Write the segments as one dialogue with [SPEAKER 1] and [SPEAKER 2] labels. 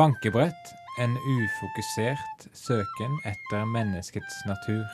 [SPEAKER 1] Bankebrett en ufokusert søken etter menneskets natur.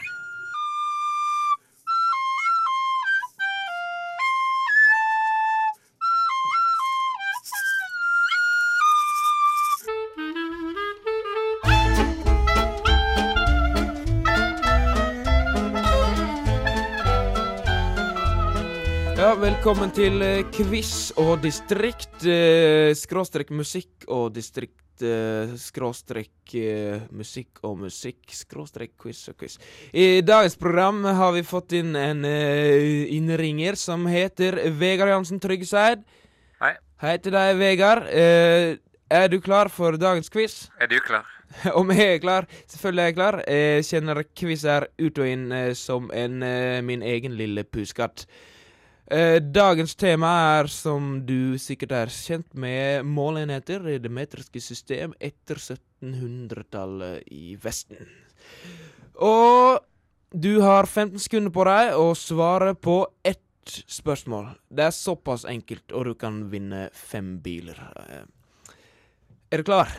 [SPEAKER 2] Ja, velkommen til eh, quiz og distrikt. eh, Skråstrek musikk og distrikt. eh, Skråstrek eh, musikk og musikk. Skråstrek quiz og quiz. I dagens program har vi fått inn en eh, innringer som heter Vegard Jansen Tryggeseid.
[SPEAKER 3] Hei.
[SPEAKER 2] Hei til deg, Vegard. Eh, er du klar for dagens quiz?
[SPEAKER 3] Er du klar?
[SPEAKER 2] Om jeg er klar? Selvfølgelig er jeg klar. Jeg kjenner quizer ut og inn eh, som en, eh, min egen lille puskatt. Eh, Dagens tema er, som du sikkert er kjent med, målenheter i det metriske system etter 1700-tallet i Vesten. Og du har 15 sekunder på deg å svare på ett spørsmål. Det er såpass enkelt, og du kan vinne fem biler. Eh, Er du klar?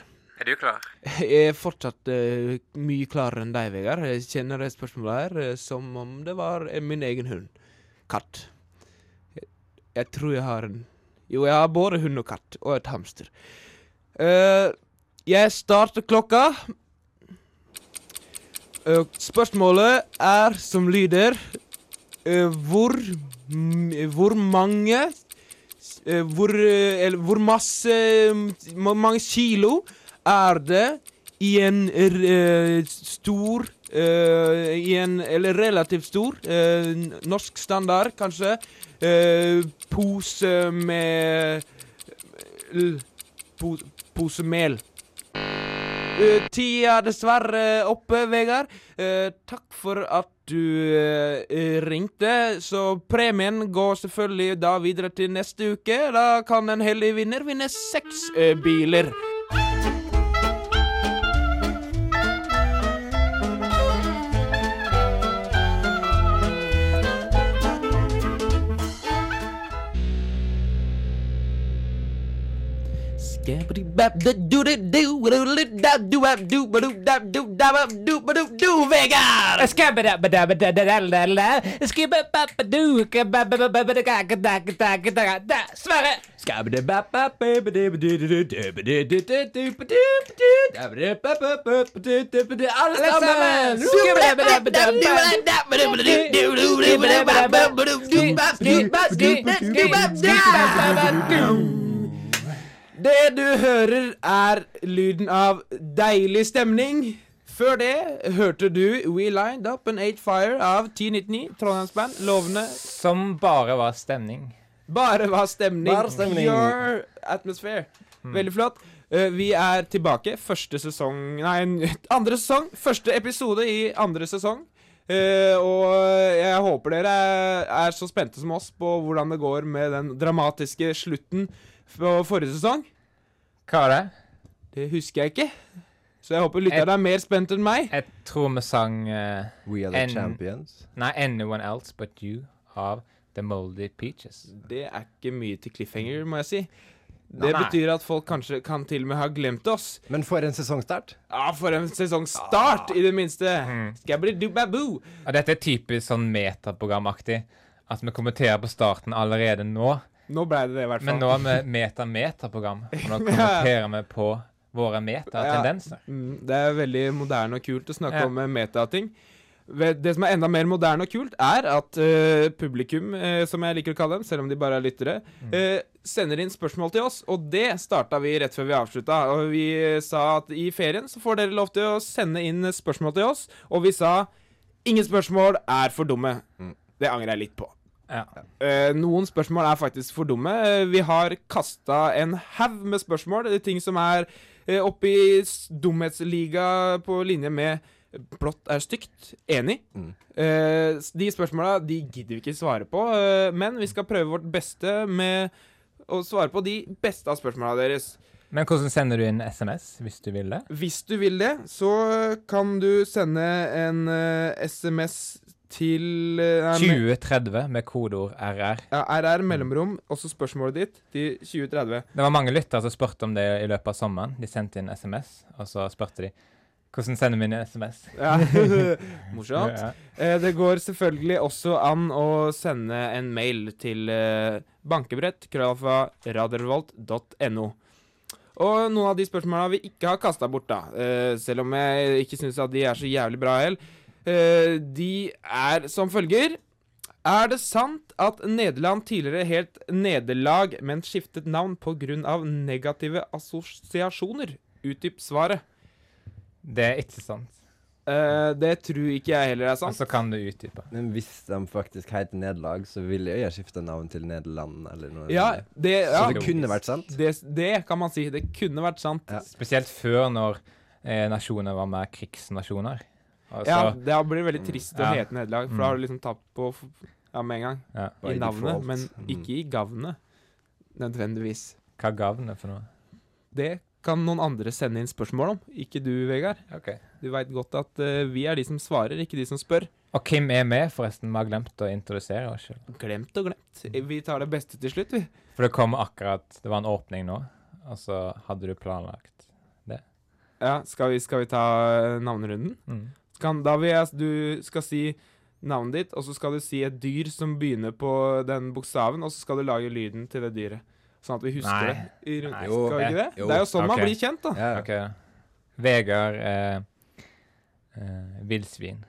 [SPEAKER 3] Er du klar?
[SPEAKER 2] Jeg er fortsatt eh, mye klarere enn deg, Vegard. Jeg kjenner det spørsmålet her eh, som om det var eh, min egen hund. Katt. Jeg, jeg tror jeg har en Jo, jeg har både hund og katt, og et hamster. Eh, jeg starter klokka. Eh, spørsmålet er som lyder eh, Hvor m- Hvor mange eh, Hvor eh, Eller hvor masse Hvor mange kilo er det i en r- eh, stor eh, I en Eller relativt stor, eh, n- norsk standard kanskje, eh, pose med l- po, Pose mel. Eh, Tida er dessverre oppe, Vegard. Eh, takk for at du eh, ringte. Så premien går selvfølgelig da videre til neste uke. Da kan en heldig vinner vinne seks eh, biler. Vegard!
[SPEAKER 4] Sverre! Alle sammen!
[SPEAKER 2] Det du hører er lyden av deilig stemning. Før det hørte du We Lined Up An Eight Fire av 1099, Trondheimsband. Lovende.
[SPEAKER 1] Som bare var stemning.
[SPEAKER 2] Bare var stemning.
[SPEAKER 5] Bare stemning.
[SPEAKER 2] Pure atmosphere. Veldig flott. Eh, vi er tilbake. Første sesong Nei, andre sesong. Første episode i andre sesong. Eh, og jeg håper dere er, er så spente som oss på hvordan det går med den dramatiske slutten på forrige sesong.
[SPEAKER 1] Hva var det?
[SPEAKER 2] Det husker jeg ikke. Så jeg håper lytterne er mer spent enn meg.
[SPEAKER 1] Jeg tror vi sang eh,
[SPEAKER 5] We are the
[SPEAKER 1] En-
[SPEAKER 5] champions.
[SPEAKER 1] Nei, 'Anyone Else But You' av The Moldy Peaches.
[SPEAKER 2] Det er ikke mye til cliffhanger, må jeg si. Det
[SPEAKER 1] Nei.
[SPEAKER 2] betyr at folk kanskje kan til og med ha glemt oss.
[SPEAKER 5] Men for en sesongstart.
[SPEAKER 2] Ja, for en sesongstart, i det minste!
[SPEAKER 1] Mm.
[SPEAKER 2] Skal bli dubabu!
[SPEAKER 1] Og dette er typisk sånn metaprogramaktig. At vi kommenterer på starten allerede nå.
[SPEAKER 2] Nå ble det det, i hvert fall.
[SPEAKER 1] Men nå er vi meta-metaprogram. Og nå kommenterer vi på våre metatendenser.
[SPEAKER 2] Mm, det er veldig moderne og kult å snakke
[SPEAKER 1] Ja.
[SPEAKER 2] om eh, metating. Ve- Det som er enda mer moderne og kult, er at eh, publikum, eh, som jeg liker å kalle dem, selv om de bare er lyttere,
[SPEAKER 1] Mm.
[SPEAKER 2] eh, sender inn spørsmål til oss. Og det starta vi rett før vi avslutta. Og vi eh, sa at i ferien så får dere lov til å sende inn eh, spørsmål til oss. Og vi sa ingen spørsmål er for dumme.
[SPEAKER 1] Mm.
[SPEAKER 2] Det angrer jeg litt på.
[SPEAKER 1] Ja.
[SPEAKER 2] Eh, noen spørsmål er faktisk for dumme. Eh, vi har kasta en haug med spørsmål. eh, Ting som er eh, oppe i s- dumhetsliga på linje med eh, blått er stygt. Enig. Eh, s- de spørsmåla de gidder vi ikke svare på, eh, men vi skal prøve vårt beste med å svare på de beste av spørsmåla deres.
[SPEAKER 1] Men hvordan sender du inn SMS hvis du vil det?
[SPEAKER 2] Hvis du vil det, så kan du sende en eh, SMS til eh, nei, me-
[SPEAKER 1] 2030 med kodeord RR.
[SPEAKER 2] ja, RR mellomrom, og så spørsmålet ditt til 2030.
[SPEAKER 1] Det var mange lyttere som spurte om det i løpet av sommeren. De sendte inn SMS, og så spurte de hvordan sender vi inn en SMS.
[SPEAKER 2] Ja. Morsomt.
[SPEAKER 1] Ja.
[SPEAKER 2] Eh, Det går selvfølgelig også an å sende en mail til eh, bankebrett krøllalfa radarvolt.no. Og noen av de spørsmåla vi ikke har kasta bort, da, eh, selv om jeg ikke syns at de er så jævlig bra hell, eh, de er som følger Er det sant at Nederland tidligere het Nederlag, men skiftet navn pga. negative assosiasjoner? Utdyp svaret.
[SPEAKER 1] Det er ikke sant.
[SPEAKER 2] Eh, det tror ikke jeg heller er
[SPEAKER 1] Og
[SPEAKER 2] sant.
[SPEAKER 1] så kan du utdype.
[SPEAKER 5] Men hvis de faktisk het Nederlag, så ville jeg skifte navn til Nederland eller noe.
[SPEAKER 2] Ja,
[SPEAKER 5] sånt.
[SPEAKER 2] det, ja.
[SPEAKER 5] Så det kunne vært sant.
[SPEAKER 2] Det, det kan man si. Det kunne vært sant.
[SPEAKER 5] Ja.
[SPEAKER 1] Spesielt før, når eh, nasjoner var mer krigsnasjoner. Altså, Og
[SPEAKER 2] ja,
[SPEAKER 1] så-
[SPEAKER 2] det blir veldig trist å
[SPEAKER 1] Ja.
[SPEAKER 2] hete nederlag, for da har du liksom tapt på f- ja, med en gang.
[SPEAKER 1] ja.
[SPEAKER 5] By
[SPEAKER 2] I navnet,
[SPEAKER 5] default.
[SPEAKER 2] men
[SPEAKER 5] Mm.
[SPEAKER 2] ikke i gavnet, nødvendigvis.
[SPEAKER 1] Hva gavn det for noe?
[SPEAKER 2] Det kan noen andre sende inn spørsmål om. Ikke du, Vegard.
[SPEAKER 1] Ok.
[SPEAKER 2] Du veit godt at eh, vi er de som svarer, ikke de som spør.
[SPEAKER 1] Og hvem er vi, forresten? Vi har glemt å introdusere oss selv.
[SPEAKER 2] Glemt og glemt. Vi tar det beste til slutt, vi.
[SPEAKER 1] For det kom akkurat Det var en åpning nå, og så hadde du planlagt
[SPEAKER 2] Ja, skal vi, skal vi ta eh, navnerunden?
[SPEAKER 1] mm.
[SPEAKER 2] Kan, da vil jeg at du skal si navnet ditt, og så skal du si et dyr som begynner på den bokstaven, og så skal du lage lyden til det dyret. Sånn at vi husker
[SPEAKER 1] Nei.
[SPEAKER 2] det. I rund-
[SPEAKER 1] Nei.
[SPEAKER 5] Jo,
[SPEAKER 2] skal vi ikke det?
[SPEAKER 5] jo.
[SPEAKER 2] Det er jo sånn man
[SPEAKER 1] Ok.
[SPEAKER 2] blir kjent, da.
[SPEAKER 5] Ja, ja.
[SPEAKER 1] OK. Vegard eh, eh, Villsvin.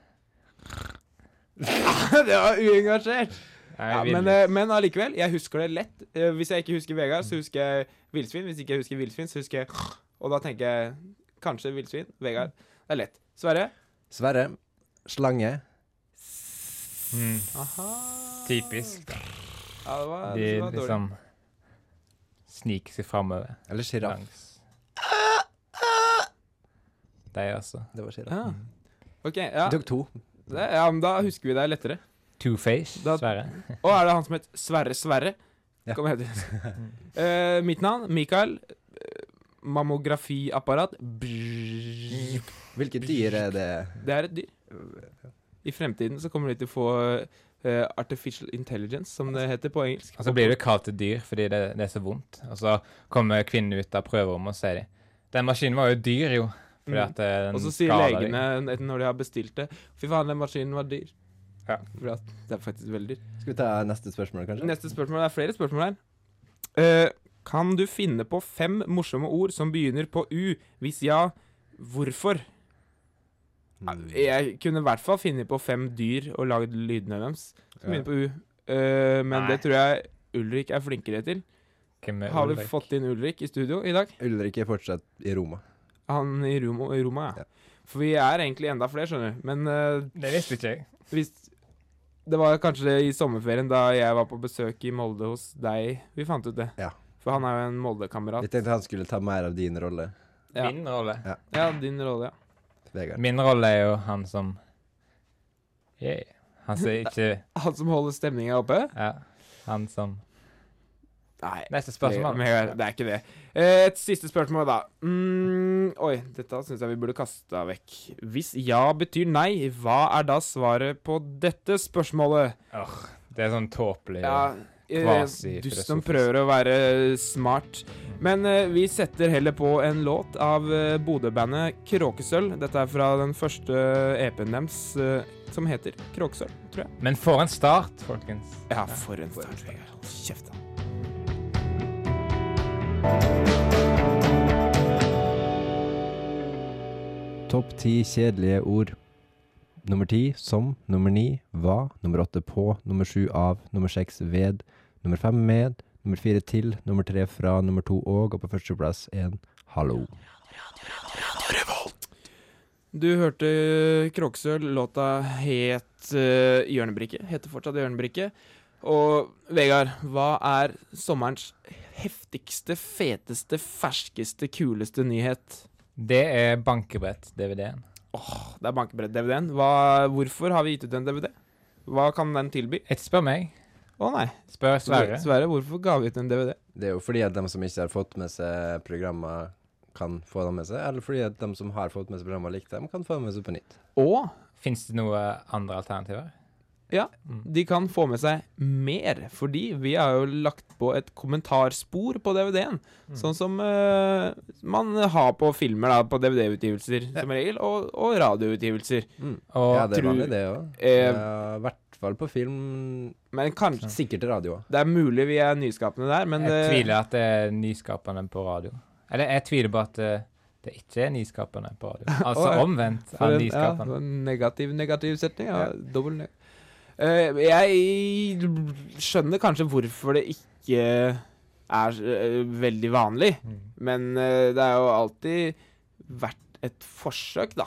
[SPEAKER 2] det var uengasjert.
[SPEAKER 1] Nei,
[SPEAKER 2] Ja,
[SPEAKER 1] vill-
[SPEAKER 2] men, eh, men allikevel, jeg husker det lett. Eh, Hvis jeg ikke husker Vegard, så husker jeg villsvin. Hvis ikke jeg husker villsvin, så husker jeg Og da tenker jeg kanskje villsvin. Vegard. Det er lett. Sverre?
[SPEAKER 5] Sverre. Slange.
[SPEAKER 1] mm.
[SPEAKER 2] Aha.
[SPEAKER 1] Typisk. da.
[SPEAKER 2] Ja, det var,
[SPEAKER 1] De
[SPEAKER 2] det var dårlig.
[SPEAKER 1] liksom sniker seg framover
[SPEAKER 5] Eller sjiraff.
[SPEAKER 1] langs De også.
[SPEAKER 5] Det var sjiraff.
[SPEAKER 2] Ja. OK. Ja,
[SPEAKER 5] Du tok to.
[SPEAKER 2] det, ja, men da husker vi det lettere.
[SPEAKER 1] Two-face,
[SPEAKER 2] Da-
[SPEAKER 1] Sverre.
[SPEAKER 2] Og er det han som het Sverre Sverre?
[SPEAKER 5] Ja.
[SPEAKER 2] Kan vi hete. Eh, mitt navn, Mikael. Eh, Mammografiapparat. Brrrr.
[SPEAKER 5] Hvilket dyr er det?
[SPEAKER 2] Det er et dyr. I fremtiden så kommer de til å få eh, artificial intelligence, som det heter på engelsk.
[SPEAKER 1] Og så blir du kalt et dyr fordi det, det er så vondt. Og så kommer kvinnen ut av prøverommet og sier de Den maskinen var jo dyr, jo. Fordi
[SPEAKER 2] Mm.
[SPEAKER 1] at eh, den
[SPEAKER 2] Og så sier
[SPEAKER 1] skader deg.
[SPEAKER 2] legene et- når de har bestilt det Fy faen, den maskinen var dyr.
[SPEAKER 1] Ja.
[SPEAKER 2] For at det er faktisk veldig dyr.
[SPEAKER 5] Skal vi ta neste spørsmål, kanskje?
[SPEAKER 2] Neste spørsmål. Det er flere spørsmål her. Eh, kan du finne på fem morsomme ord som begynner på U? Hvis ja, hvorfor?
[SPEAKER 5] Mm.
[SPEAKER 2] Jeg kunne i hvert fall finne på fem dyr og lagd lydene deres. Som
[SPEAKER 5] Ja.
[SPEAKER 2] begynner på U. Eh, men
[SPEAKER 1] Nei.
[SPEAKER 2] det tror jeg Ulrik er flinkere til.
[SPEAKER 1] Hvem er
[SPEAKER 2] Har vi
[SPEAKER 1] Ulrik?
[SPEAKER 2] fått inn Ulrik i studio i dag?
[SPEAKER 5] Ulrik er fortsatt i Roma.
[SPEAKER 2] Han i Roma, i Roma ja. For vi er egentlig enda flere, skjønner du. Men eh,
[SPEAKER 1] Det visste ikke jeg.
[SPEAKER 2] hvis Det var kanskje i sommerferien da jeg var på besøk i Molde hos deg vi fant ut det.
[SPEAKER 5] Ja.
[SPEAKER 2] For han er jo en Molde-kamerat.
[SPEAKER 5] Jeg tenkte han skulle ta mer av din rolle,
[SPEAKER 2] Ja.
[SPEAKER 1] Min rolle
[SPEAKER 2] ja, din rolle, ja.
[SPEAKER 5] Vegard.
[SPEAKER 1] Min rolle er jo han som yeah. Han som ikke
[SPEAKER 2] Han som holder stemninga oppe?
[SPEAKER 1] Ja. Han som
[SPEAKER 2] Nei,
[SPEAKER 1] Neste spørsmål.
[SPEAKER 2] Mer- mer- det er ikke det. Eh, Et siste spørsmål, da. Mm, oi, dette syns jeg vi burde kasta vekk. Hvis ja betyr nei, hva er da svaret på dette spørsmålet?
[SPEAKER 1] Åh, det er sånn tåpelig
[SPEAKER 2] Ja, eh,
[SPEAKER 1] Kvasi-filosofisk.
[SPEAKER 2] du som prøver å være smart. Men eh, vi setter heller på en låt av eh, Bodø-bandet Kråkesølv. Dette er fra den første EP-en deres, eh, som heter Kråkesølv, tror jeg.
[SPEAKER 1] Men for en start, folkens.
[SPEAKER 2] Ja, for en start, Vegard. Hold kjeft, da.
[SPEAKER 5] Topp ti kjedelige ord. Nummer ti som, nummer ni hva, nummer åtte på, nummer sju av, nummer seks ved, nummer fem med, nummer fire til, nummer tre fra, nummer to og, og på førsteplass en hallo.
[SPEAKER 2] Du hørte Kråksøl, låta het eh, Hjørnebrikke. Heter fortsatt Hjørnebrikke. Og Vegard, hva er sommerens heftigste, feteste, ferskeste, kuleste nyhet?
[SPEAKER 1] Det er bankebrett-DVD-en.
[SPEAKER 2] Åh, Det er bankebrett-DVD-en. Hvorfor har vi gitt ut en DVD? Hva kan den tilby?
[SPEAKER 1] Ikke spør meg.
[SPEAKER 2] Å nei.
[SPEAKER 1] Spør Sverre.
[SPEAKER 2] Sverre, hvorfor ga vi ut en DVD?
[SPEAKER 5] Det er jo fordi at de som ikke har fått med seg programmer, kan få dem med seg, eller fordi at de som har fått med seg programmer og likt dem, kan få dem med seg på nytt.
[SPEAKER 2] Og
[SPEAKER 1] Fins det noe andre alternativer?
[SPEAKER 2] Ja,
[SPEAKER 1] Mm.
[SPEAKER 2] de kan få med seg mer, fordi vi har jo lagt på et kommentarspor på DVD-en.
[SPEAKER 1] Mm.
[SPEAKER 2] Sånn som eh, man har på filmer, da, på DVD-utgivelser
[SPEAKER 5] Ja.
[SPEAKER 2] som regel, og, og radioutgivelser.
[SPEAKER 1] Og
[SPEAKER 5] Ja, det er
[SPEAKER 2] tror-
[SPEAKER 5] vanlig, det òg.
[SPEAKER 2] Eh,
[SPEAKER 5] I hvert fall på film.
[SPEAKER 2] Men kanskje
[SPEAKER 5] Sikkert radio òg.
[SPEAKER 2] Det er mulig vi er nyskapende der, men eh,
[SPEAKER 1] jeg
[SPEAKER 2] det-
[SPEAKER 1] tviler at det er nyskapende på radio. Eller jeg tviler på at eh, det ikke er nyskapende på radio. Altså
[SPEAKER 2] Å, ja.
[SPEAKER 1] omvendt
[SPEAKER 2] For
[SPEAKER 1] av
[SPEAKER 2] en, ja, det
[SPEAKER 1] nyskapende.
[SPEAKER 2] var en negativ, negativ setning. Ja.
[SPEAKER 5] Ja.
[SPEAKER 2] Dobbel neg Eh, jeg skjønner kanskje hvorfor det ikke er eh, veldig vanlig,
[SPEAKER 1] Mm.
[SPEAKER 2] men eh, det er jo alltid vært et forsøk, da.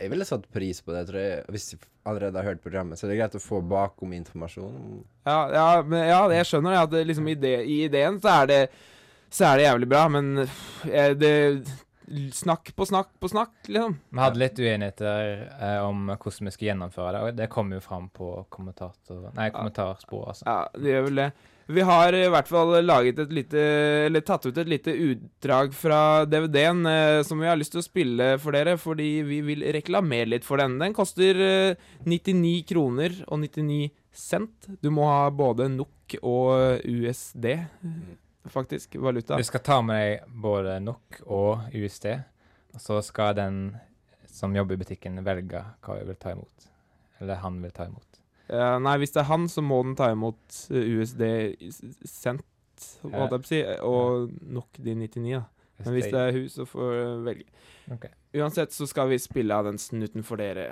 [SPEAKER 5] Jeg ville satt pris på det, tror jeg, hvis jeg allerede har hørt programmet. Så det er greit å få bakom informasjon.
[SPEAKER 2] Ja, ja, men, ja jeg skjønner det, at det, liksom, ide, i ideen så er, det, så er det jævlig bra, men pff, eh, det Snakk på snakk på snakk, liksom.
[SPEAKER 1] Vi hadde litt uenigheter eh, om hvordan vi skulle gjennomføre det, og det kom jo fram på kommentator... Nei, kommentarspor, altså.
[SPEAKER 2] Ja, det gjør vel det. Vi har i hvert fall laget et lite, eller tatt ut et lite utdrag fra DVD-en eh, som vi har lyst til å spille for dere, fordi vi vil reklamere litt for den. Den koster eh, 99 kroner og 99 cent. Du må ha både NOK og USD, faktisk, valuta.
[SPEAKER 1] Du skal ta med deg både NOK og USD, og så skal den som jobber i butikken velge hva hun vil ta imot. Eller han vil ta imot.
[SPEAKER 2] Eh, nei, hvis det er han, så må den ta imot eh, USD cent, holdt jeg på å si, eh, og NOK de 99, da. Men hvis det er hun, så får du velge.
[SPEAKER 1] Ok.
[SPEAKER 2] Uansett så skal vi spille av den snutten for dere.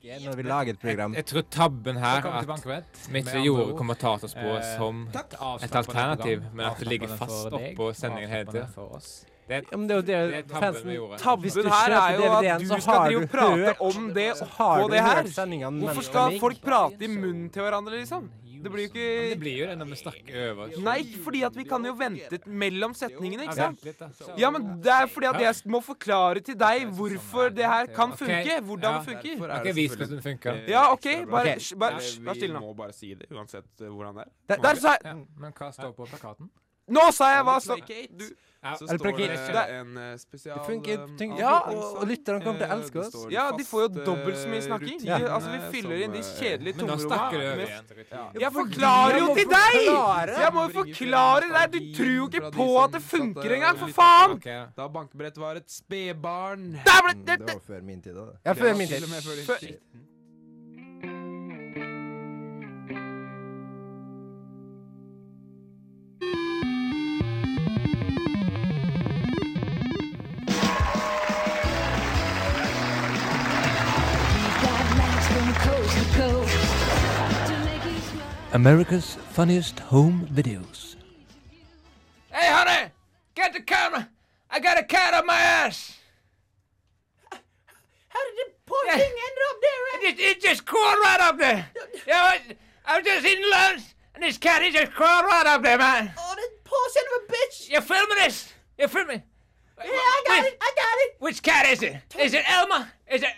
[SPEAKER 5] Når vi lager et program
[SPEAKER 3] Jeg tror tabben her
[SPEAKER 6] Velkommen til
[SPEAKER 3] at
[SPEAKER 6] bankerett.
[SPEAKER 3] vi
[SPEAKER 6] Med
[SPEAKER 3] ikke
[SPEAKER 6] andre
[SPEAKER 3] gjorde
[SPEAKER 6] ord,
[SPEAKER 3] kommentatorspor
[SPEAKER 6] eh,
[SPEAKER 3] som
[SPEAKER 6] takk.
[SPEAKER 3] et alternativ, men at det ligger fast oppå sendingen Eh, hele tida.
[SPEAKER 1] For oss.
[SPEAKER 6] Ja, men det er jo det,
[SPEAKER 3] Det er tabben vi gjorde.
[SPEAKER 6] Hvis du
[SPEAKER 2] Tabben her
[SPEAKER 6] kjøper
[SPEAKER 2] er jo at
[SPEAKER 6] DVD-en,
[SPEAKER 2] du
[SPEAKER 6] så
[SPEAKER 2] skal
[SPEAKER 6] har
[SPEAKER 2] drive
[SPEAKER 6] du
[SPEAKER 2] og prate
[SPEAKER 6] hørt-
[SPEAKER 2] om det
[SPEAKER 6] så
[SPEAKER 2] oppå det her.
[SPEAKER 6] sendingene
[SPEAKER 2] Hvorfor
[SPEAKER 6] mellom
[SPEAKER 2] skal
[SPEAKER 6] meg?
[SPEAKER 2] folk prate i munnen til hverandre, liksom? Det blir jo
[SPEAKER 3] Det
[SPEAKER 2] ikke
[SPEAKER 3] blir jo det når vi snakker over. oss.
[SPEAKER 2] Nei, fordi at vi kan jo vente mellom setningene, ikke sant?
[SPEAKER 3] Vent litt, da.
[SPEAKER 2] Ja, men det er fordi at jeg s- må forklare til deg hvorfor det her kan
[SPEAKER 3] Ok,
[SPEAKER 2] funke. Hvordan det
[SPEAKER 3] ja.
[SPEAKER 2] funker.
[SPEAKER 3] Ok, vis hvordan det funker.
[SPEAKER 2] Ja, OK, bare hysj, Eh, bare
[SPEAKER 3] Nei,
[SPEAKER 2] hysj, vær stille nå.
[SPEAKER 6] bare si det, uansett
[SPEAKER 2] eh,
[SPEAKER 6] hvordan det er.
[SPEAKER 2] Der sa jeg
[SPEAKER 1] Ja, men hva står på plakaten?
[SPEAKER 2] Nå sa jeg hva som Du
[SPEAKER 6] Eller plakett.
[SPEAKER 2] eh, en, eh,
[SPEAKER 6] spesial
[SPEAKER 5] Det funker. ting-
[SPEAKER 2] Ja, eh,
[SPEAKER 5] og, og lytterne kommer til å elske oss.
[SPEAKER 2] Ja, de får jo dobbelt så mye snakking. De,
[SPEAKER 5] Ja.
[SPEAKER 2] altså, vi fyller inn de kjedelige
[SPEAKER 3] Men da snakker du
[SPEAKER 2] tomrommene.
[SPEAKER 3] over
[SPEAKER 2] med-
[SPEAKER 3] igjen.
[SPEAKER 2] Jeg forklarer jo til deg!
[SPEAKER 5] forklare!
[SPEAKER 2] Jeg må jo forklare deg! Du tror jo ikke på at det funker engang, for faen!
[SPEAKER 3] Ok, ja.
[SPEAKER 6] Da bankebrett var et spedbarn
[SPEAKER 2] Der ble
[SPEAKER 5] Mm,
[SPEAKER 2] det,
[SPEAKER 5] Det
[SPEAKER 2] det.
[SPEAKER 5] var før min tid, da. Ja, før min tid.
[SPEAKER 2] Før-
[SPEAKER 7] America's funniest home videos.
[SPEAKER 4] Hey, honey! Get the camera! I got a cat on my ass! How did the poor thing end up there? It just, it just crawled right up there. yeah, I, I was just eating lunch, and this cat, he just crawled right up there, man. Oh, that poor son of a bitch! You're filming this! You're filming. Yeah, I got it! I got it! Which cat is it? Is it Elma? Is it...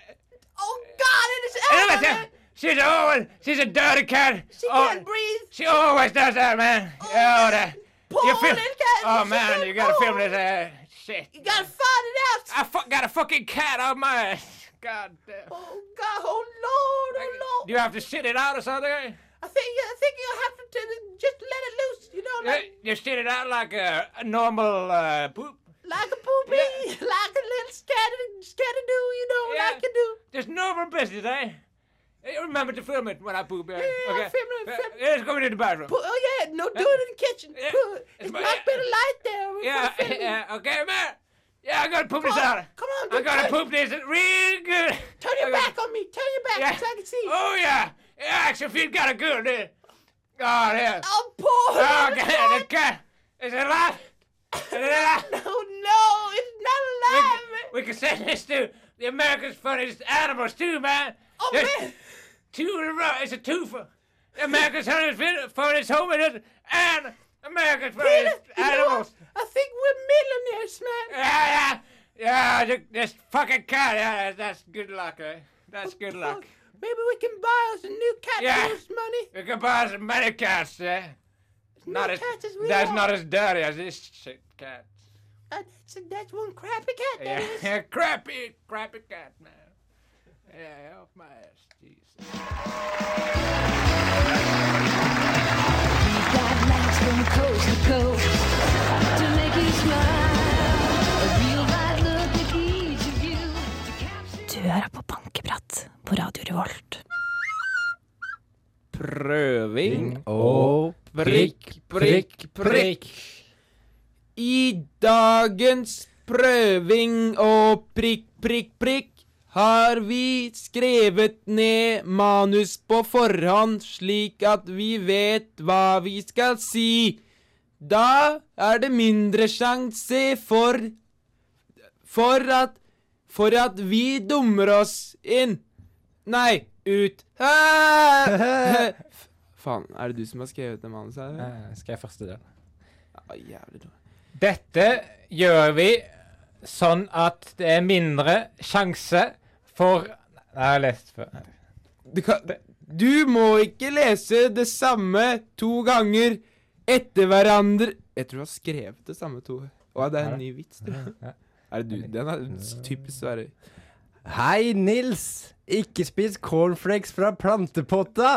[SPEAKER 4] Oh, God, it is Elma! She's always, she's a dirty cat. She can't breathe. She always does that, man. Oh, that. You feel- Oh man, you gotta film this uh, shit. You gotta find it out. I fu- got a fucking cat on my ass. God damn. Oh God, oh Lord, oh Lord. Do you have to sit it out or something? I think I think you'll have to just let it loose. You know, like you sit it out like a, a normal uh, poop. Like a poopy, like a little scattered, scattered do, you know, like you do. Just normal business, eh? Hey, Remember to film it when I poop. Yeah, yeah okay. film it. Film. Yeah, let's go into the bathroom. oh yeah, no, do it in the kitchen. It's, not been a light there. Yeah, yeah, okay, man. Yeah, I'm gonna poop this out. Come on, I'm gonna poop this real good. Turn your back on me. Turn your back so I can see. Oh yeah, yeah, actually feel got a good. Uh, oh yeah. I'm poor. Oh, God, the cat. Is it alive? Is it alive? no, no, it's not alive. We, can send this to the America's Funniest Animals too, man. Oh man. Two in a row. It's a twofer. America's Funniest Vid- Funniest Home Videos and America's Funniest Animals. Eh, I think we're millionaires, man. Yeah, yeah, yeah. th- This fucking cat. Yeah, that's good luck. Eh? That's good luck. Maybe we can buy us a new cat yeah. for money. We can buy us many cats. Eh? Not as, that's not as dirty as this shit cat. that's, that's one crappy cat. Yeah, yeah crappy, crappy cat, man. Yeah, off my ass, Jesus.
[SPEAKER 2] prøving.
[SPEAKER 5] Og
[SPEAKER 2] Prikk, prikk, prikk. I dagens prøving og prikk, prikk, prikk har vi skrevet ned manus på forhånd, slik at vi vet hva vi skal si. Da er det mindre sjanse for For at For at vi dummer oss inn. Nei, ut. Ah! Faen, er det du som har skrevet det manuset? her?
[SPEAKER 1] Eh, Skal jeg første del?
[SPEAKER 2] Ah, jævlig dårlig.
[SPEAKER 1] Dette gjør vi sånn at det er mindre sjanse for Nei, jeg har lest før.
[SPEAKER 2] Du, kan, du må ikke lese det samme to ganger etter hverandre. Jeg tror du har skrevet det samme to. Å, det er en ny vits, tror jeg.
[SPEAKER 1] Ja.
[SPEAKER 2] Er det du? Den er s- typisk Sverre.
[SPEAKER 5] Hei, Nils! Ikke spis cornflakes fra plantepotta!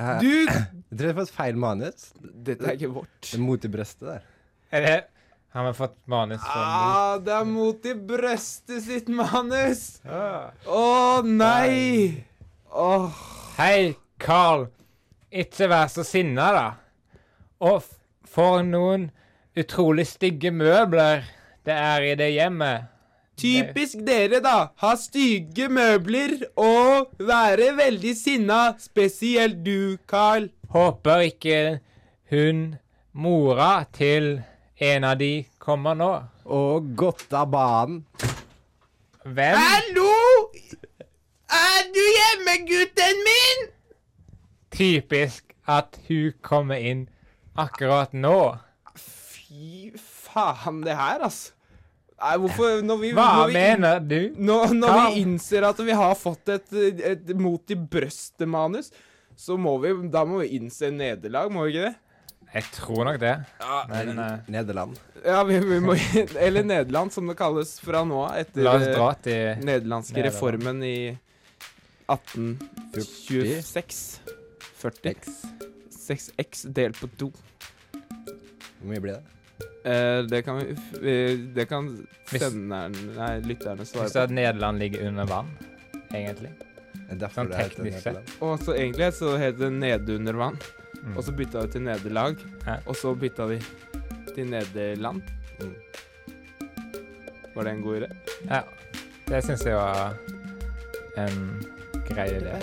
[SPEAKER 5] Eh,
[SPEAKER 2] Du!
[SPEAKER 5] Jeg tror jeg har fått feil manus.
[SPEAKER 2] Dette er ikke vårt.
[SPEAKER 5] Det er Mot i brøstet der.
[SPEAKER 1] Er det Har vi fått manus fra Mo?
[SPEAKER 2] Ah, det er mot i brøstet sitt manus. Å nei! Åh.
[SPEAKER 1] Hei, Carl. Ikke vær så sinna, da. Og f- for noen utrolig stygge møbler det er i det hjemmet.
[SPEAKER 2] Typisk dere, da. Ha stygge møbler og være veldig sinna. Spesielt du, Carl.
[SPEAKER 1] Håper ikke hun mora til en av de kommer nå.
[SPEAKER 5] Og godt av banen.
[SPEAKER 1] Hvem?
[SPEAKER 2] Hallo! Er du hjemme, gutten min?
[SPEAKER 1] Typisk at hun kommer inn akkurat nå.
[SPEAKER 2] Fy faen, det her, altså. Nei, hvorfor Når vi,
[SPEAKER 1] Hva
[SPEAKER 2] når vi,
[SPEAKER 1] mener du?
[SPEAKER 2] når, når
[SPEAKER 1] Carl?
[SPEAKER 2] vi innser at vi har fått et, et mot i brøstet-manus, så må vi Da må vi innse nederlag, må vi ikke det?
[SPEAKER 1] Jeg tror nok det. Men eh,
[SPEAKER 5] Nederland.
[SPEAKER 2] Ja, vi, vi må Eller Nederland, som det kalles fra nå av. etter- eh,
[SPEAKER 1] la oss dra til
[SPEAKER 2] nederlandske
[SPEAKER 1] Nederland.
[SPEAKER 2] reformen i 1826. 40.
[SPEAKER 5] X.
[SPEAKER 2] 6x delt på 2.
[SPEAKER 5] Hvor mye blir det?
[SPEAKER 2] det kan vi f- eh, Det kan
[SPEAKER 1] Hvis-
[SPEAKER 2] senderen Nei, lytterne
[SPEAKER 1] Hvis at
[SPEAKER 2] svare på.
[SPEAKER 1] Nederland ligger under vann, egentlig.
[SPEAKER 5] Det er derfor
[SPEAKER 1] Sånn
[SPEAKER 5] det heter
[SPEAKER 1] teknisk sett.
[SPEAKER 5] Nederland.
[SPEAKER 2] Og så egentlig så het det Nedunder vann.
[SPEAKER 1] Mm.
[SPEAKER 2] Og så bytta vi til nederlag.
[SPEAKER 1] Ja.
[SPEAKER 2] Og så bytta vi til Nederland.
[SPEAKER 5] Mm.
[SPEAKER 2] Var det en god idé?
[SPEAKER 1] Ja. Det syns jeg var en grei idé.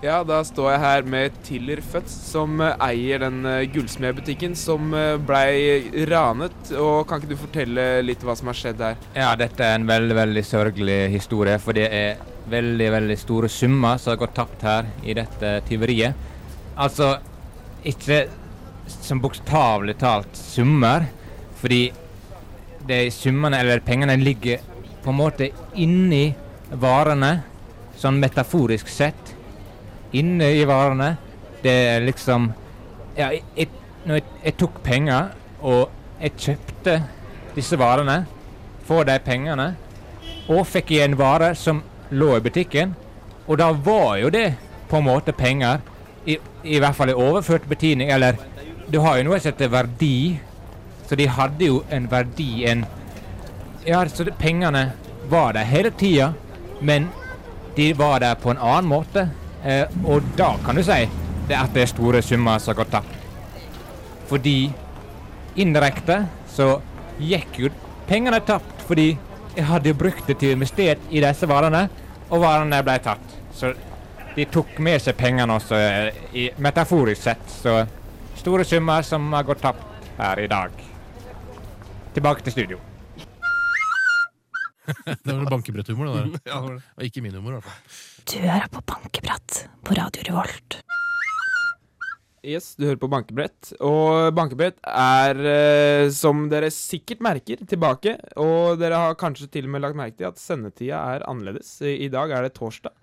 [SPEAKER 2] Ja, da står jeg her med Tiller Føtz, som eh, eier den eh, gullsmedbutikken som eh, blei ranet. Og kan ikke du fortelle litt hva som har skjedd her?
[SPEAKER 1] Ja, dette er en veldig, veldig sørgelig historie, for det er veldig, veldig store summer som har gått tapt her i dette tyveriet. Altså, ikke som bokstavelig talt summer, fordi de summene, eller pengene, ligger på en måte inni varene, sånn metaforisk sett. Inne i varene. Det er liksom Ja, jeg, jeg, når jeg, jeg tok penger, og jeg kjøpte disse varene få de pengene, og fikk igjen varer som lå i butikken. Og da var jo det på en måte penger, i, i hvert fall i overført betydning, eller du har jo noe som heter verdi, så de hadde jo en verdi, en Ja, så det, pengene var der hele tida, men de var der på en annen måte. Eh, og da kan du si det at det er store summer som har gått tapt. Fordi indirekte så gikk jo pengene tapt fordi jeg hadde jo brukt det til å investere i disse varene, og varene ble tatt. Så de tok med seg pengene også, eh, i, metaforisk sett. Så store summer som har gått tapt her i dag. Tilbake til studio.
[SPEAKER 8] Det var bankebrødhumor, det der. Og ikke min humor, i hvert fall.
[SPEAKER 9] Du hører på Bankeprat på Radio Revolt.
[SPEAKER 2] Yes, du hører på Bankebrett. Og Bankebrett er, eh, som dere sikkert merker, tilbake. Og dere har kanskje til og med lagt merke til at sendetida er annerledes. I i dag er det torsdag,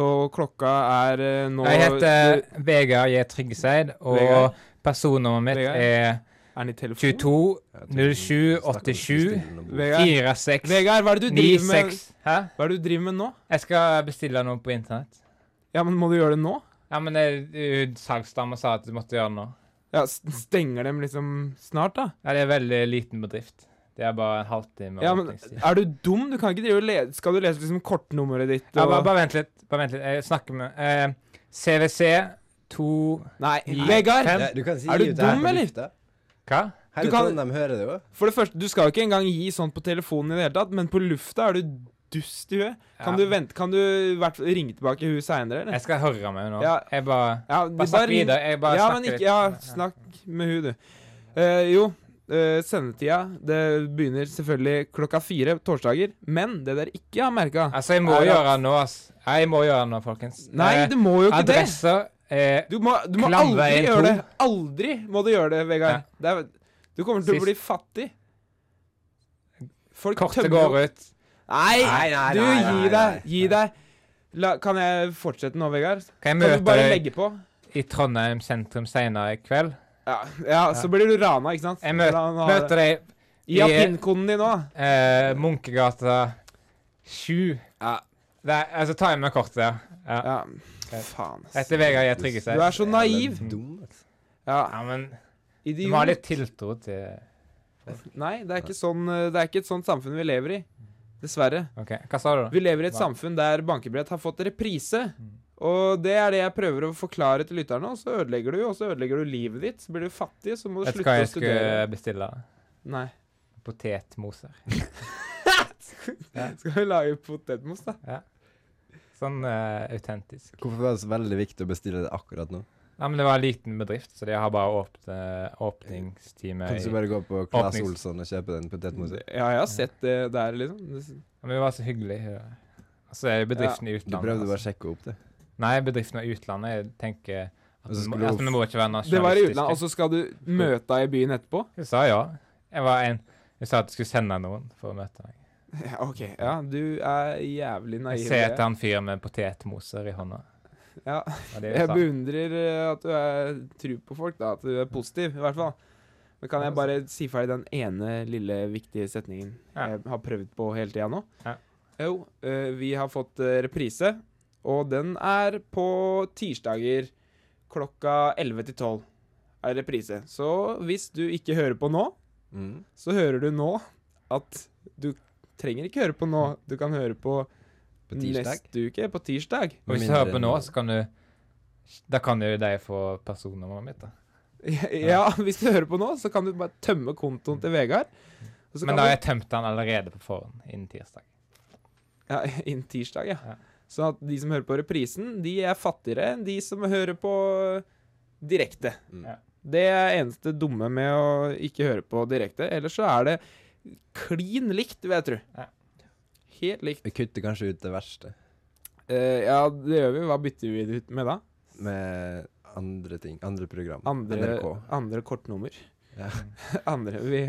[SPEAKER 2] og klokka er eh, nå
[SPEAKER 1] Jeg heter Vegard J. Tryggeseid, og
[SPEAKER 2] Vegard.
[SPEAKER 1] personnummeret mitt
[SPEAKER 2] Vegard.
[SPEAKER 1] er
[SPEAKER 2] han i telefon?
[SPEAKER 1] 22
[SPEAKER 5] Jeg tror
[SPEAKER 1] 07
[SPEAKER 5] vi snakker
[SPEAKER 1] 87
[SPEAKER 5] stille nå.
[SPEAKER 2] Vegard,
[SPEAKER 1] 4 6
[SPEAKER 2] Vegard, hva er det du
[SPEAKER 1] 9
[SPEAKER 2] driver med?
[SPEAKER 1] 6 Hæ?
[SPEAKER 2] Hva er det du driver med nå?
[SPEAKER 1] Jeg skal bestille noe på internett.
[SPEAKER 2] Ja, men Må du gjøre det nå?
[SPEAKER 1] Ja, men det- det- salgsdama sa at du måtte gjøre det nå.
[SPEAKER 2] Ja, s- Stenger dem liksom snart, da?
[SPEAKER 1] Ja, det er veldig liten bedrift. Det er bare en halvtime.
[SPEAKER 2] Ja, men
[SPEAKER 1] åpningstid.
[SPEAKER 2] Er du dum? Du kan ikke drive og lese Skal du lese liksom kortnummeret ditt
[SPEAKER 1] Ja,
[SPEAKER 2] og
[SPEAKER 1] bare, bare vent litt. Bare vent litt. Jeg snakker med eh, CVC 2
[SPEAKER 2] Nei,
[SPEAKER 1] Nei.
[SPEAKER 2] Vegard!
[SPEAKER 1] Fem.
[SPEAKER 5] Ja, du kan si
[SPEAKER 2] Er du
[SPEAKER 5] ut det her
[SPEAKER 2] dum,
[SPEAKER 5] på
[SPEAKER 2] eller?
[SPEAKER 5] lufta.
[SPEAKER 1] Hva?
[SPEAKER 5] Hele
[SPEAKER 2] Du kan-
[SPEAKER 5] Trondheim hører det jo.
[SPEAKER 2] For det første, du skal jo ikke engang gi sånt på telefonen i det hele tatt, men på lufta er du dust i huet. Kan
[SPEAKER 1] Ja.
[SPEAKER 2] du vente Kan du i hvert fall ringe tilbake hun seinere, eller?
[SPEAKER 1] Jeg skal høre med henne nå.
[SPEAKER 2] Ja.
[SPEAKER 1] Jeg bare
[SPEAKER 2] Ja, de
[SPEAKER 1] Bare snakk
[SPEAKER 2] ring-
[SPEAKER 1] videre. Jeg bare
[SPEAKER 2] Ja,
[SPEAKER 1] snakker
[SPEAKER 2] men ikke
[SPEAKER 1] litt.
[SPEAKER 2] Ja, snakk med hun, du. Eh, jo, eh, sendetida Det begynner selvfølgelig klokka fire torsdager, men det dere ikke har merka
[SPEAKER 1] Altså, jeg må
[SPEAKER 2] Er det-
[SPEAKER 1] gjøre det nå, ass. Jeg må gjøre det nå, folkens.
[SPEAKER 2] Nei,
[SPEAKER 1] Eh,
[SPEAKER 2] du må jo ikke det!
[SPEAKER 1] Adresser eh,
[SPEAKER 2] Du må, du må
[SPEAKER 1] Klamveien
[SPEAKER 2] aldri
[SPEAKER 1] to.
[SPEAKER 2] gjøre det. Aldri må du gjøre det, Vegard. Det er, du kommer til
[SPEAKER 1] Sist.
[SPEAKER 2] å bli fattig. Folk
[SPEAKER 1] Kortet
[SPEAKER 2] tømmer
[SPEAKER 1] går ut.
[SPEAKER 2] Nei,
[SPEAKER 5] Nei, nei,
[SPEAKER 2] du,
[SPEAKER 5] nei, nei,
[SPEAKER 2] gi deg.
[SPEAKER 5] nei.
[SPEAKER 2] Gi deg. La, kan jeg fortsette nå, Vegard?
[SPEAKER 1] Kan jeg
[SPEAKER 2] Kan du
[SPEAKER 1] møte
[SPEAKER 2] bare
[SPEAKER 1] deg
[SPEAKER 2] legge på?
[SPEAKER 1] i Trondheim sentrum senere i kveld?
[SPEAKER 2] Ja, ja, så blir du rana, ikke sant?
[SPEAKER 1] Jeg møter-
[SPEAKER 2] La han ha det.
[SPEAKER 1] Møter deg
[SPEAKER 2] Gi av
[SPEAKER 1] i-
[SPEAKER 2] pinnkoden din nå. da.
[SPEAKER 1] eh, Munkegata 7.
[SPEAKER 2] Ja.
[SPEAKER 1] Der, altså, ta jeg med kortet. ja. Ja.
[SPEAKER 2] Ja,
[SPEAKER 1] Greit.
[SPEAKER 2] faen. ass.
[SPEAKER 1] Dette er Vegard jeg trygger seg.
[SPEAKER 2] Du er så naiv.
[SPEAKER 5] Jævla Dum, altså.
[SPEAKER 2] Ja,
[SPEAKER 1] Ja, men du må ha
[SPEAKER 2] idiot.
[SPEAKER 1] litt tiltro til
[SPEAKER 2] Nei, det er ikke sånn eh, Det er ikke et sånt samfunn vi lever i. Dessverre.
[SPEAKER 1] OK, hva sa du? da?
[SPEAKER 2] Vi lever i et
[SPEAKER 1] Hva? Mm.
[SPEAKER 2] samfunn der bankebrett har fått reprise. Og det er det jeg prøver å forklare til lytterne, og så ødelegger du, og så ødelegger du livet ditt. Så blir du fattig, så må du
[SPEAKER 1] Vet du
[SPEAKER 2] slutte
[SPEAKER 1] hva
[SPEAKER 2] å
[SPEAKER 1] jeg
[SPEAKER 2] studere.
[SPEAKER 1] skulle bestille?
[SPEAKER 2] Nei.
[SPEAKER 1] Potetmoser.
[SPEAKER 2] Skal vi lage potetmos, da?
[SPEAKER 1] Sånn eh, autentisk.
[SPEAKER 5] Hvorfor var det så veldig viktig å bestille det akkurat nå?
[SPEAKER 1] Ja, men det var en liten bedrift, så de har bare åpne, åpningstime
[SPEAKER 5] Kan
[SPEAKER 1] i
[SPEAKER 5] du bare gå på Klas
[SPEAKER 1] Åpnings-
[SPEAKER 5] Olsson og kjøpe den potetmosen?
[SPEAKER 2] Ja, jeg har sett det der, liksom. Det-
[SPEAKER 1] Ja, Men vi var så hyggelige. Altså, er jo bedriften i
[SPEAKER 5] Du
[SPEAKER 1] utlandet.
[SPEAKER 5] prøvde bare å
[SPEAKER 1] altså.
[SPEAKER 5] sjekke opp det.
[SPEAKER 1] Nei, bedriften i utlandet. Jeg tenker at
[SPEAKER 5] Og så
[SPEAKER 1] vi må,
[SPEAKER 5] skulle
[SPEAKER 1] altså,
[SPEAKER 5] du-
[SPEAKER 1] vi må ikke være
[SPEAKER 2] Det var i
[SPEAKER 1] nasjonalistiske.
[SPEAKER 2] utlandet, og så skal du møte deg i byen etterpå?
[SPEAKER 1] Hun sa ja. Jeg var en Hun sa at jeg skulle sende noen for å møte meg.
[SPEAKER 2] Ja, OK. Ja, du er jævlig
[SPEAKER 1] Jeg
[SPEAKER 2] naiv.
[SPEAKER 1] ser
[SPEAKER 2] Lea.
[SPEAKER 1] etter han fyren med potetmoser i hånda.
[SPEAKER 2] Ja.
[SPEAKER 1] Og det
[SPEAKER 2] Jeg
[SPEAKER 1] sa.
[SPEAKER 2] beundrer eh, at du er tru på folk, da. At du er positiv, i hvert fall. Men kan jeg bare si ferdig den ene lille viktige setningen
[SPEAKER 1] Ja.
[SPEAKER 2] jeg har prøvd på hele tida nå?
[SPEAKER 1] Ja.
[SPEAKER 2] Jo, eh, vi har fått eh, reprise, og den er på tirsdager klokka 11 til 12. Er reprise. Så hvis du ikke hører på nå,
[SPEAKER 5] Mm.
[SPEAKER 2] så hører du nå at du trenger ikke høre på nå. Du kan høre på,
[SPEAKER 5] På tirsdag?
[SPEAKER 2] neste uke, på tirsdag.
[SPEAKER 1] Og hvis du
[SPEAKER 5] Mindre
[SPEAKER 1] hører på
[SPEAKER 5] enn-
[SPEAKER 1] nå, så kan du Da kan jo de få personnummeret mitt, da.
[SPEAKER 2] Ja, hvis du hører på nå, så kan du bare tømme kontoen til Vegard. Og så
[SPEAKER 1] Men
[SPEAKER 2] kan
[SPEAKER 1] da har
[SPEAKER 2] du,
[SPEAKER 1] jeg tømt han allerede på forhånd innen tirsdag.
[SPEAKER 2] ja, Innen tirsdag, ja.
[SPEAKER 1] Ja.
[SPEAKER 2] Sånn at de som hører på reprisen, de er fattigere enn de som hører på direkte.
[SPEAKER 5] Mm.
[SPEAKER 1] Ja.
[SPEAKER 2] Det er eneste dumme med å ikke høre på direkte. Ellers så er det klin likt, vil jeg tro.
[SPEAKER 1] Ja.
[SPEAKER 2] Helt likt.
[SPEAKER 5] Vi kutter kanskje ut det verste
[SPEAKER 2] Eh, ja, det gjør vi. Hva bytter vi det ut med da?
[SPEAKER 5] med andre ting. Andre program.
[SPEAKER 2] Andre,
[SPEAKER 5] NRK.
[SPEAKER 2] andre kortnummer.
[SPEAKER 5] Ja.
[SPEAKER 2] andre, vi,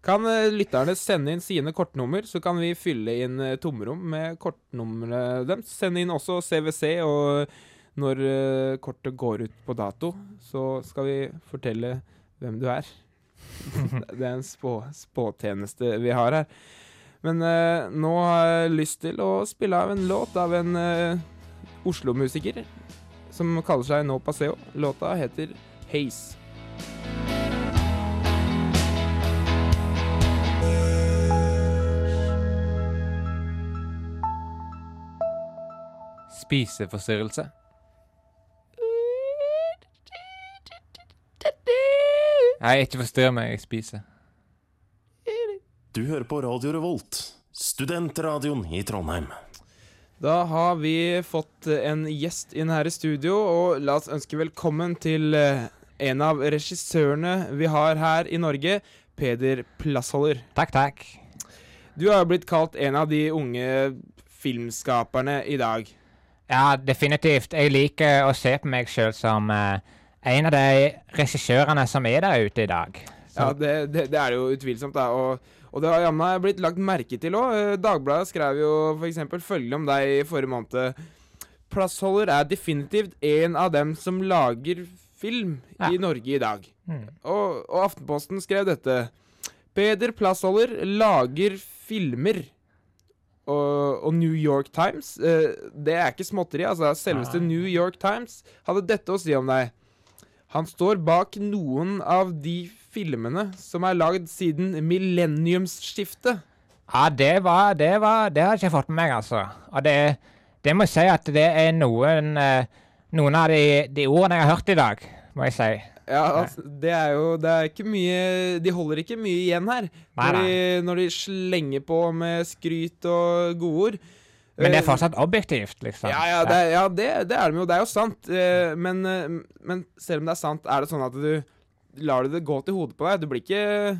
[SPEAKER 2] kan eh, lytterne sende inn sine kortnummer, så kan vi fylle inn eh, tomrom med kortnumrene deres. Send inn også CWC, og når eh, kortet går ut på dato, så skal vi fortelle hvem du er. det er en spå, spåtjeneste vi har her. Men eh, nå har jeg lyst til å spille av en låt av en eh, Oslo-musiker som kaller seg No Paseo. Låta heter Haze.
[SPEAKER 1] Spiseforstyrrelse. Nei, ikke forstyrr meg, jeg spiser.
[SPEAKER 10] Du hører på Radio Revolt, studentradioen i Trondheim.
[SPEAKER 2] Da har vi fått eh, en gjest inn her i studio, og la oss ønske velkommen til eh, en av regissørene vi har her i Norge, Peder Plassholder.
[SPEAKER 1] Takk, takk.
[SPEAKER 2] Du har jo blitt kalt en av de unge filmskaperne i dag.
[SPEAKER 1] Ja, definitivt. Jeg liker å se på meg sjøl som eh, en av de regissørene som er der ute i dag.
[SPEAKER 2] Ja, det, det, det er jo utvilsomt, da. Og, og det har jammen meg blitt lagt merke til òg. Dagbladet skrev jo f.eks. følgende om deg i forrige måned. Plassholder er definitivt en av dem som lager film i Norge i dag.
[SPEAKER 1] Mm.
[SPEAKER 2] Og, og Aftenposten skrev dette. Peder Plassholder lager filmer. Og, og New York Times eh, Det er ikke småtteri, altså. Selveste New York Times hadde dette å si om deg. Han står bak noen av de filmene som er lagd siden millenniumsskiftet.
[SPEAKER 11] Ja, det var Det var, det har jeg ikke fått med meg, altså. Og det, det må jeg si at det er noen eh, Noen av de, de ordene jeg har hørt i dag, må jeg si.
[SPEAKER 2] Ja, altså, det er jo Det er ikke mye De holder ikke mye igjen her.
[SPEAKER 11] Nei,
[SPEAKER 2] Når, de, når de slenger på med skryt og godord.
[SPEAKER 11] Men det
[SPEAKER 2] Eh,
[SPEAKER 11] er fortsatt objektivt, liksom.
[SPEAKER 2] Ja, ja, det, er- ja det, det er de jo. Det er jo sant. Eh, Men, eh, men selv om det er sant, er det sånn at du lar du det gå til hodet på deg? Du blir ikke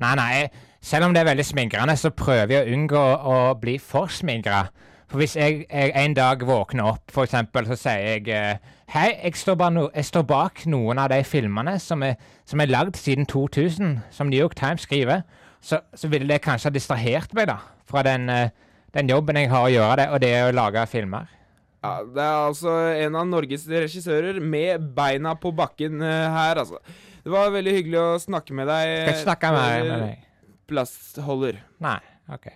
[SPEAKER 11] Nei, nei. Selv om det er veldig smingrende, så prøver jeg å unngå å bli for smingra. For hvis jeg, jeg en dag våkner opp, for eksempel, så sier jeg eh, Hei, jeg står, bare no jeg står bak noen av de filmene som er, som er lagd siden 2000, som New York Times skriver. Så, så ville det kanskje ha distrahert meg, da. Fra den, eh, den jobben jeg har å gjøre, det, og det å lage filmer.
[SPEAKER 2] Ja, det er altså en av Norges regissører med beina på bakken eh, her, altså. Det var veldig hyggelig å snakke med deg.
[SPEAKER 11] Skal ikke snakke
[SPEAKER 2] eh,
[SPEAKER 11] mer med deg.
[SPEAKER 2] Plassholder.
[SPEAKER 11] Nei. OK.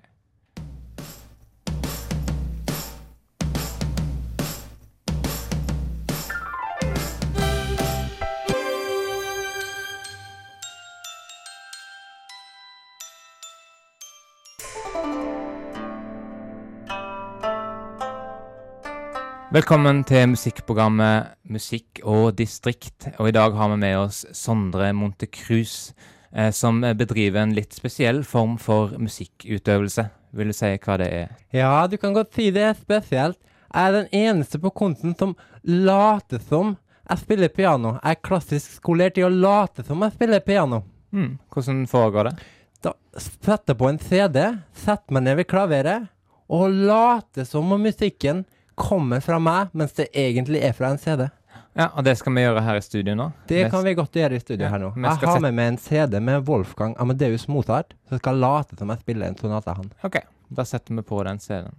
[SPEAKER 1] Velkommen til musikkprogrammet Musikk og distrikt. Og i dag har vi med oss Sondre Montecruz, eh, som bedriver en litt spesiell form for musikkutøvelse. Vil du si hva det er?
[SPEAKER 5] Ja, du kan godt si det er spesielt. Jeg er den eneste på konten som later som jeg spiller piano. Jeg er klassisk skolert i å late som jeg spiller piano.
[SPEAKER 1] Hmm, Hvordan foregår det?
[SPEAKER 5] Da setter jeg på en CD, setter meg ned ved klaveret og later som om musikken kommer fra meg, mens det egentlig er fra en CD.
[SPEAKER 1] Ja, Og det skal vi gjøre her i studio nå?
[SPEAKER 5] Det kan vi godt gjøre i studio
[SPEAKER 1] Ja,
[SPEAKER 5] her nå.
[SPEAKER 1] men jeg
[SPEAKER 5] Jeg
[SPEAKER 1] skal
[SPEAKER 5] har
[SPEAKER 1] sette-
[SPEAKER 5] med meg en CD med Wolfgang Amadeus Mozart, som skal late som jeg spiller en sonate av han.
[SPEAKER 1] OK. Da setter vi på den CD-en.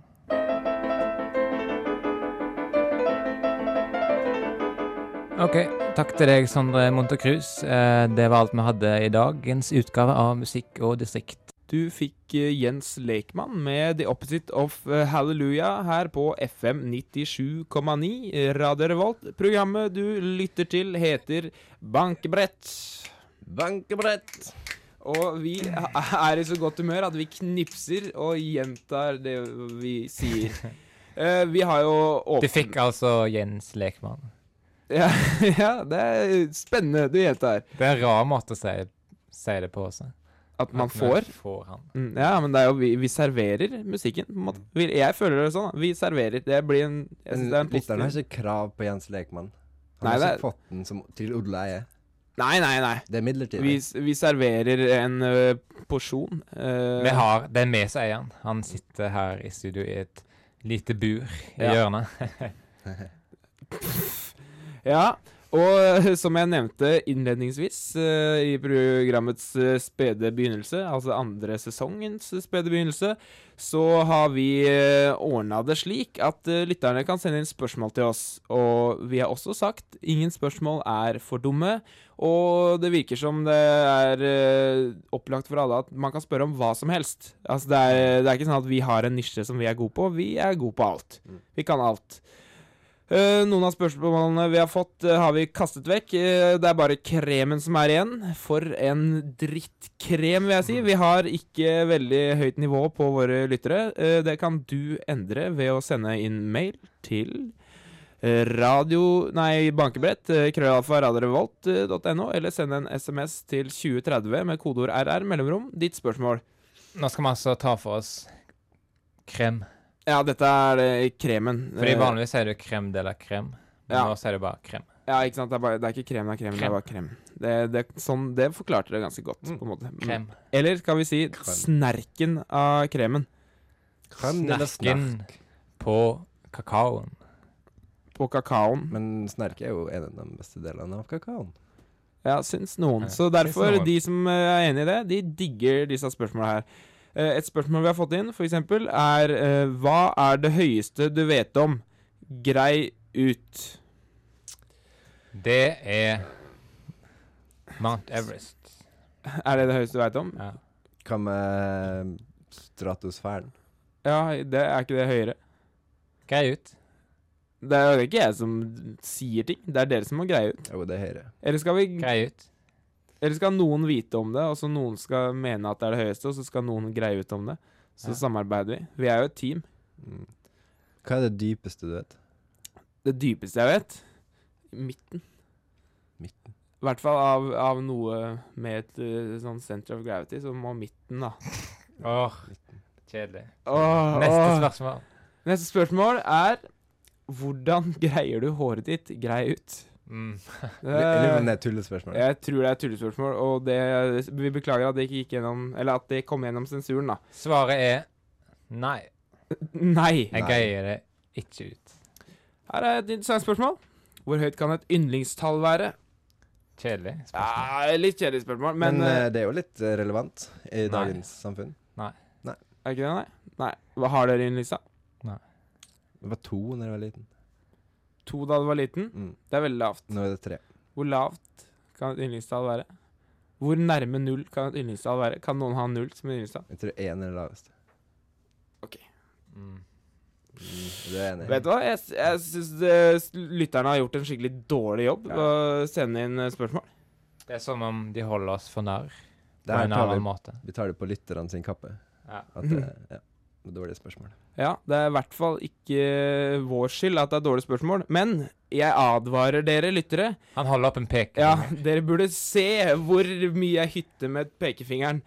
[SPEAKER 1] OK. Takk til deg, Sondre Montecruz. Eh, det var alt vi hadde i dagens utgave av Musikk og distrikt.
[SPEAKER 2] Du fikk eh, Jens Leikmann med The Opposite of eh, Hallelujah her på FM 97,9 eh, Radio Revolt. Programmet du lytter til, heter Bankebrett.
[SPEAKER 5] Bankebrett.
[SPEAKER 2] Og vi er i så godt humør at vi knipser og gjentar det vi sier. Eh, vi har jo
[SPEAKER 1] Du
[SPEAKER 2] åpnet
[SPEAKER 1] fikk altså Jens Lekmann.
[SPEAKER 2] Ja, ja, det er spennende du gjentar.
[SPEAKER 1] Det er en rar måte å si, si det på også.
[SPEAKER 2] At man
[SPEAKER 1] vi
[SPEAKER 2] får.
[SPEAKER 1] får han.
[SPEAKER 2] Mm, Ja, men det er jo vi, vi serverer musikken, på en måte. Vi, jeg føler det sånn. da. Vi serverer. Det blir en, jeg synes det er en
[SPEAKER 5] Lytteren har
[SPEAKER 2] positiv
[SPEAKER 5] ikke krav på Jens Lekmann. Han
[SPEAKER 2] Nei,
[SPEAKER 5] har
[SPEAKER 2] det
[SPEAKER 5] ikke
[SPEAKER 2] er-
[SPEAKER 5] fått den som, til Odla eier.
[SPEAKER 2] Nei, nei, nei.
[SPEAKER 5] Det er midlertidig.
[SPEAKER 2] Vi, s- vi serverer en ø, porsjon. eh, ø,
[SPEAKER 1] Vi har, det er vi som eier han. Han sitter her i studio i et lite bur i
[SPEAKER 2] Ja.
[SPEAKER 1] hjørnet.
[SPEAKER 2] Ja. Og ø, som jeg nevnte innledningsvis ø, i programmets ø, spede begynnelse, altså andre sesongens eh, spede begynnelse, så har vi ordna det slik at ø, lytterne kan sende inn spørsmål til oss. Og vi har også sagt ingen spørsmål er for dumme. Og det virker som det er eh, opplagt for alle at man kan spørre om hva som helst. Altså det er, det er ikke sånn at vi har en nisje som vi er gode på. Vi er gode på alt. Vi kan alt. Eh, noen av spørsmålene vi har fått, eh, har vi kastet vekk. Eh, det er bare kremen som er igjen. For en drittkrem, vil jeg si. Vi har ikke veldig høyt nivå på våre lyttere. Eh, det kan du endre ved å sende inn mail til eh, radio... Nei, bankebrett. eh, Krøllalfa eh, radiorevolt.no. Eller send en SMS til 2030 med kodeord RR mellomrom ditt spørsmål.
[SPEAKER 1] Nå skal vi altså ta for oss krem.
[SPEAKER 2] Ja, dette er eh, kremen.
[SPEAKER 1] Fordi
[SPEAKER 2] Eh,
[SPEAKER 1] vanligvis sier du krem de la krem. Men
[SPEAKER 2] Ja. Mm.
[SPEAKER 1] Nå sier du bare krem.
[SPEAKER 2] Ja, ikke sant. Det er, bare, det er ikke krem, det er krem. Det er bare krem. Det, det, sånn, det forklarte det ganske godt, på en måte. Mm.
[SPEAKER 1] Krem.
[SPEAKER 2] Eller skal vi si snerken av kremen
[SPEAKER 5] Krem, det er
[SPEAKER 1] Snerken
[SPEAKER 5] snark.
[SPEAKER 1] på kakaoen.
[SPEAKER 2] på kakaoen?
[SPEAKER 5] Men snerk er jo en av de beste delene av kakaoen.
[SPEAKER 2] Ja, syns noen.
[SPEAKER 1] Ja,
[SPEAKER 2] Så
[SPEAKER 1] syns
[SPEAKER 2] derfor,
[SPEAKER 1] noen.
[SPEAKER 2] de som eh, er enig i det, de digger disse spørsmåla her. Eh, Et spørsmål vi har fått inn, for eksempel, er eh, Hva er det høyeste du vet om? Grei ut.
[SPEAKER 1] Det er Mount Everest.
[SPEAKER 2] Er det det høyeste du veit om?
[SPEAKER 1] Ja.
[SPEAKER 5] Hva med stratosfæren?
[SPEAKER 2] Ja, det er ikke det høyere.
[SPEAKER 1] Grei ut.
[SPEAKER 2] Det er jo ikke jeg som sier ting, det er dere som må greie ut.
[SPEAKER 5] Jo, det er høyere.
[SPEAKER 2] Eller skal, vi,
[SPEAKER 1] Grei ut.
[SPEAKER 2] eller skal noen vite om det, og så noen skal mene at det er det høyeste, og så skal noen greie ut om det. Så
[SPEAKER 1] Ja.
[SPEAKER 2] samarbeider vi. Vi er jo et team.
[SPEAKER 5] Mm. Hva er det dypeste du vet?
[SPEAKER 2] Det dypeste jeg vet Midten.
[SPEAKER 5] Midten.
[SPEAKER 2] I hvert fall av, av noe med et eh, sånn center of gravity, så må midten, da.
[SPEAKER 1] Åh, kjedelig.
[SPEAKER 2] Åh,
[SPEAKER 1] Neste
[SPEAKER 2] åh.
[SPEAKER 1] spørsmål.
[SPEAKER 2] Neste spørsmål er Hvordan greier du håret ditt grei ut?
[SPEAKER 1] Mm.
[SPEAKER 5] Jeg lurer på om
[SPEAKER 2] Eh,
[SPEAKER 5] det er et tullespørsmål.
[SPEAKER 2] jeg tror det er et tullespørsmål, og det, vi beklager at det ikke gikk gjennom Eller at det kom gjennom sensuren, da.
[SPEAKER 1] Svaret er nei.
[SPEAKER 2] Nei!
[SPEAKER 1] Jeg
[SPEAKER 5] Nei.
[SPEAKER 1] greier det ikke ut.
[SPEAKER 2] Her er et interessant spørsmål. Hvor høyt kan et yndlingstall være?
[SPEAKER 1] Kjedelig spørsmål.
[SPEAKER 2] Ja, litt kjedelig spørsmål,
[SPEAKER 5] Men,
[SPEAKER 2] men,
[SPEAKER 5] eh, det er jo litt eh, relevant i
[SPEAKER 1] nei.
[SPEAKER 5] dagens samfunn.
[SPEAKER 2] eh, Er ikke det, nei? Nei. Hva har dere yndlingstall?
[SPEAKER 5] Det var to da jeg var liten.
[SPEAKER 2] To da du var liten?
[SPEAKER 5] Mm.
[SPEAKER 2] Det er veldig lavt.
[SPEAKER 5] Nå er det tre.
[SPEAKER 2] Hvor lavt kan et yndlingstall være? Hvor nærme null kan et yndlingstall være? Kan noen ha null som yndlingstall?
[SPEAKER 5] Jeg tror én er det laveste.
[SPEAKER 1] Mm.
[SPEAKER 5] Mm, du er enig?
[SPEAKER 2] Vet du hva, jeg, s- jeg syns eh, lytterne har gjort en skikkelig dårlig jobb ved å sende inn eh, spørsmål.
[SPEAKER 1] Det er som om de holder oss for narr på
[SPEAKER 5] Det her
[SPEAKER 1] en
[SPEAKER 5] tar
[SPEAKER 1] annen
[SPEAKER 5] vi,
[SPEAKER 1] måte.
[SPEAKER 5] vi tar det på lytterne sin kappe.
[SPEAKER 1] Ja.
[SPEAKER 5] At det ja, det var dårlige spørsmål.
[SPEAKER 2] Ja, det er i hvert fall ikke vår skyld at det er dårlige spørsmål, men jeg advarer dere lyttere.
[SPEAKER 1] Han holder opp en peker.
[SPEAKER 2] Ja, dere burde se hvor mye jeg hytter med pekefingeren.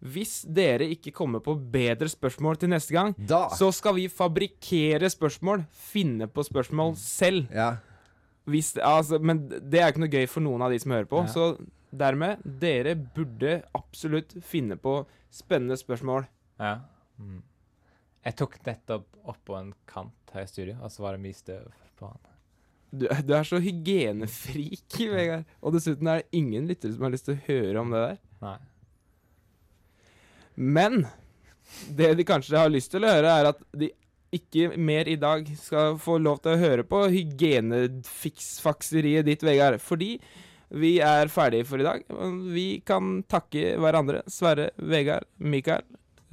[SPEAKER 2] Hvis dere ikke kommer på bedre spørsmål til neste gang,
[SPEAKER 5] Da!
[SPEAKER 2] så skal vi fabrikkere spørsmål, finne på spørsmål selv.
[SPEAKER 5] Ja.
[SPEAKER 2] Hvis, altså, men det er ikke noe gøy for noen av de som hører på.
[SPEAKER 1] Ja.
[SPEAKER 2] Så dermed, dere burde absolutt finne på spennende spørsmål.
[SPEAKER 1] Ja. Mm. Jeg tok nettopp oppå en kant her i studio, og så var det mye støv på han.
[SPEAKER 2] Du, du er så hygienefrik, Vegard. Og dessuten er det ingen lyttere som har lyst til å høre om det der.
[SPEAKER 1] Nei.
[SPEAKER 2] Men det de kanskje har lyst til å høre, er at de ikke mer i dag skal få lov til å høre på hygienefiksfakseriet ditt, Vegard. Fordi vi er ferdige for i dag. og Vi kan takke hverandre, Sverre, Vegard, Mikael,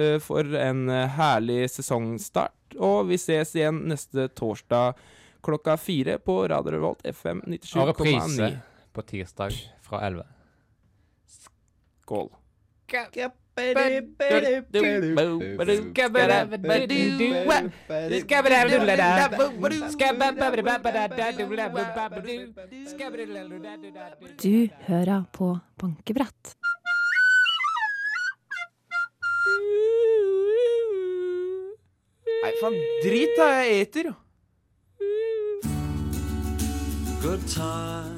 [SPEAKER 2] eh, for en eh, herlig sesongstart. Og vi ses igjen neste torsdag klokka fire på Radio Revolt FM
[SPEAKER 1] Og reprise
[SPEAKER 2] 97,9.
[SPEAKER 1] på tirsdag fra 11.
[SPEAKER 2] Skål.
[SPEAKER 9] Du hører på Bankebrett.
[SPEAKER 2] Nei, faen, drit da, jeg eter jo.
[SPEAKER 10] Good time.